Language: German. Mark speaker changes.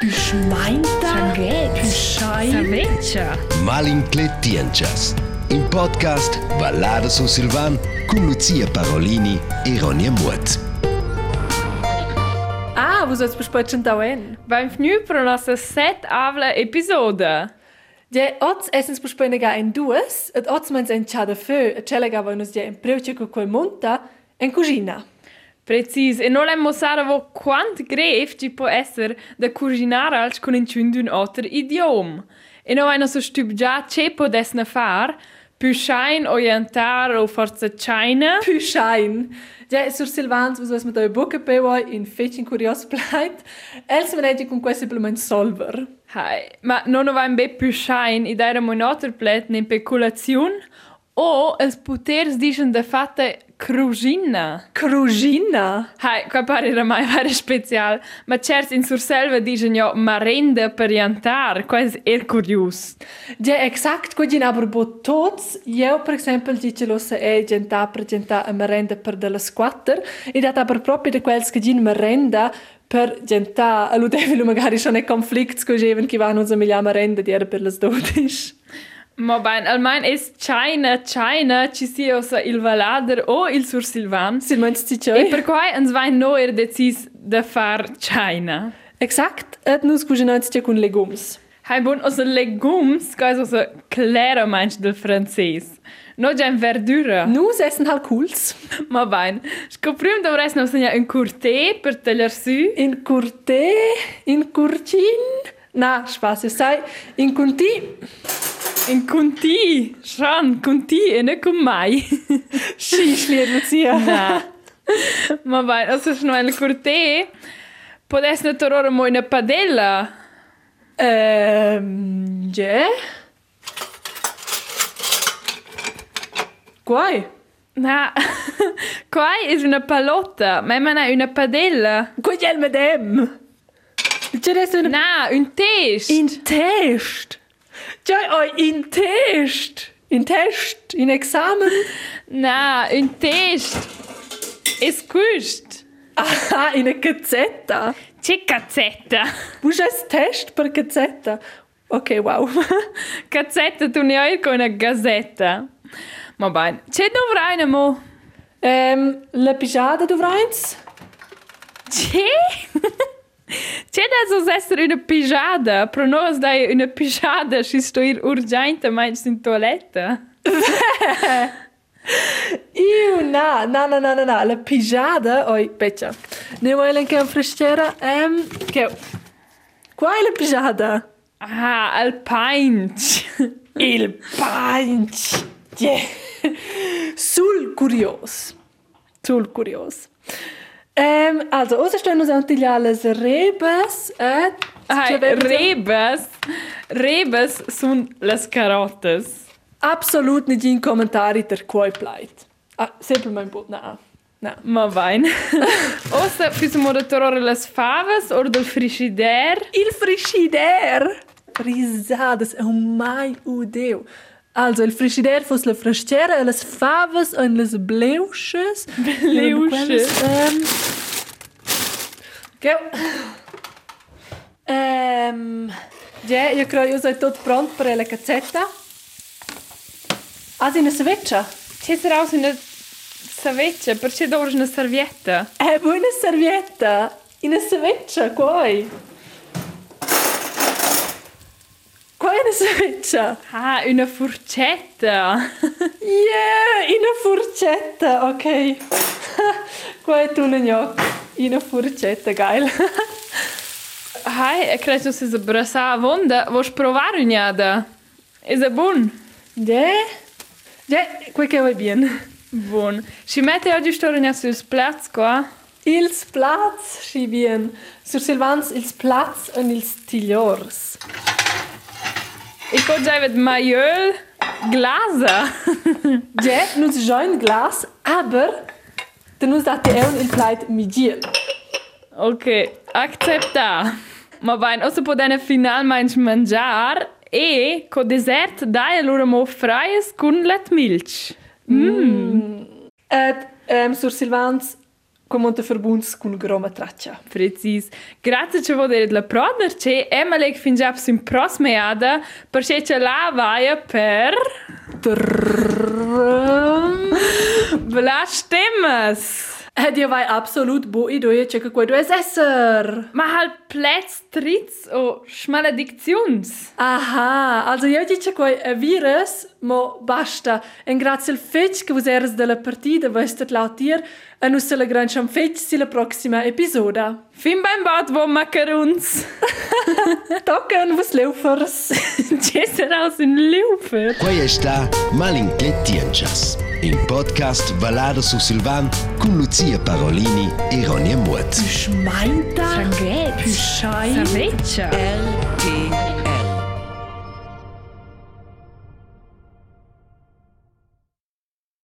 Speaker 1: Bist du meinter?
Speaker 2: Malincletianchas. In podcast Ballada su Silvan con Lucia Parolini e Ronja Muth.
Speaker 3: Ah, wo sollst du besprechen da hin?
Speaker 4: Benvenue pour notre set avla episode.
Speaker 3: Die Otz essens besprechen gar ein Dues, et Otz meins ein Chade Fö, et Chelle gaben uns die ein Brötchen con quel Monta, en Cugina.
Speaker 4: Precis, e non lemmo saravo quant gref ci può essere da cucinare alc con un cun d'un otter idiom. E non vaino so stup già ce podesne far, più schein orientar o forza china.
Speaker 3: Püschein. Die sur Silvans, wo sollst mit euch Bucke bewoi, eh, in Fetchen kurios bleibt, els man hätte con quel simplement solver.
Speaker 4: Hai, ma non vain be più schein i dare mo un otter plet ne peculazion o els puters dicen de fatte crugina.
Speaker 3: Crugina.
Speaker 4: Hai, qua pare mai fare special, ma certs in surselva dicono jo marenda per jantar, quas er curius.
Speaker 3: Die exakt cugina aber bot tots, jeu per exempel dice lo se e genta per genta a merenda per de las quatter, ed dat aber proprio de quels che gin merenda per genta, allo devilo magari schon e conflict scogeven che vanno a milia merenda di era per las dodisch.
Speaker 4: Ma ben, almain es China, China, ci sia osa il Valader o il Sursilvan.
Speaker 3: Sil meinst di
Speaker 4: E
Speaker 3: cioè?
Speaker 4: per quai ens vain no er decis de far China.
Speaker 3: Exakt, et nus cugina jetzt ja con legums.
Speaker 4: Hai bon osa legums, quais osa clara manch del frances. No già in verdura.
Speaker 3: Nus essen halt cools.
Speaker 4: Ma ben, scoprim dovres nos segna un curté per teller su.
Speaker 3: In curte, in curcin. Na, Spaß, ihr seid in Conti.
Speaker 4: In conti, Sean, conti e ne con mai.
Speaker 3: Schieß, liebe Lucia.
Speaker 4: Na. Ma vai, also schon eine Kurte. Podes ne tororo mo in padella.
Speaker 3: Ähm, ja. Guai.
Speaker 4: Na. Qua is una palotta, ma man ha una padella.
Speaker 3: Guai, gel mit dem. Tja, das ist eine...
Speaker 4: Na, un tisch.
Speaker 3: In Test. Tja, oh, in Test. In Test, in Examen.
Speaker 4: Na, un tisch. Es quist.
Speaker 3: Aha, in eine Gazzetta.
Speaker 4: C'è cazzetta.
Speaker 3: Wo ist das Test per Gazzetta? Okay, wow.
Speaker 4: Cazzetta tu ne hai con una gazzetta. Ma bene, c'è dovrai ne mo.
Speaker 3: ähm, Le Pijade, du Vreins?
Speaker 4: C'è? C'è da so essere una pigiada, pro noi dai una pigiada, ci sto ir urgente, ma in toiletta.
Speaker 3: Iu, na, na, na, na, na, na, la pijada, oi, peccia. Ne vuoi anche un fresciera? Ehm, che... Qua è la pijada?
Speaker 4: Ah, al pinch.
Speaker 3: Il punch! Yeah. Sul curios. Sul curios. Ehm, also, außer stellen uns antill alles Rebes, et...
Speaker 4: Hai,
Speaker 3: Ci avevamo-
Speaker 4: rebes, rebes sun las carotes.
Speaker 3: Absolut nicht in Kommentare der Koi bleibt. Ah, simpel mein Boot, na, na.
Speaker 4: Ma vain. Osta pisimo da torore las faves or del frigider.
Speaker 3: Il frigidaire! Risadas, oh mai o Deu! Also, il frigidaire fosse la frascera, e las favas e las bleuches.
Speaker 4: Bleuches.
Speaker 3: Ähm... Gell? Ähm... Ja, io credo, io sei tot pronto per la cazzetta. Ah, sì, una sveccia.
Speaker 4: C'è sarà una saveccia, perché d'ora una servietta.
Speaker 3: Eh, vuoi una servietta? Una sveccia, quoi? Qua è una sveccia?
Speaker 4: Ah, una forchetta.
Speaker 3: Yeah, in una furcetta, ok. Qua è tu un gnocchi, in una furcetta, geil.
Speaker 4: Hai, e cred că se zbrăsa vonda, voș provar în iada. E de bun.
Speaker 3: De? De, quel che va bien.
Speaker 4: Bun. Și mete oggi sto rânia sus plats qua.
Speaker 3: Ils Platz, schi bien. Sur Silvans, ils Platz und ils Tigliors.
Speaker 4: E co già ved maiol glasa.
Speaker 3: De, nun si join glas, aber dann uns dat die Eon il Pleit midiel.
Speaker 4: ok, accepta. Ma vain, o să podene final mai înci mangiar e co desert dai lura mo fraies cun let milch.
Speaker 3: Et ähm, sur Silvans come un verbunds con groma traccia.
Speaker 4: Precis. Grazie ci vuol dire la prodner c'è e ma lei fin già sin prosmeada per se c'è la vaia per Bla stimmes.
Speaker 3: Ed io vai absolut bo idee c'è che quello è esser.
Speaker 4: Ma halt plätz tritz o schmalediktions.
Speaker 3: Aha, also io dice che è virus, ma basta. E grazie al fetch che useres della partita, vestet lautier, e noi se la granciamo fetch sulla prossima episoda.
Speaker 4: Fin beim Bad wo macaruns.
Speaker 3: Tocken, was laufers.
Speaker 4: Gesser aus in Lufer.
Speaker 2: Quei sta Malinclet Tienchas, in podcast Valado su Silvan con Lucia Parolini e Ronja Muet.
Speaker 3: Schmeinta.
Speaker 4: Sanguet.
Speaker 3: Schein.
Speaker 4: Saveccia.
Speaker 3: El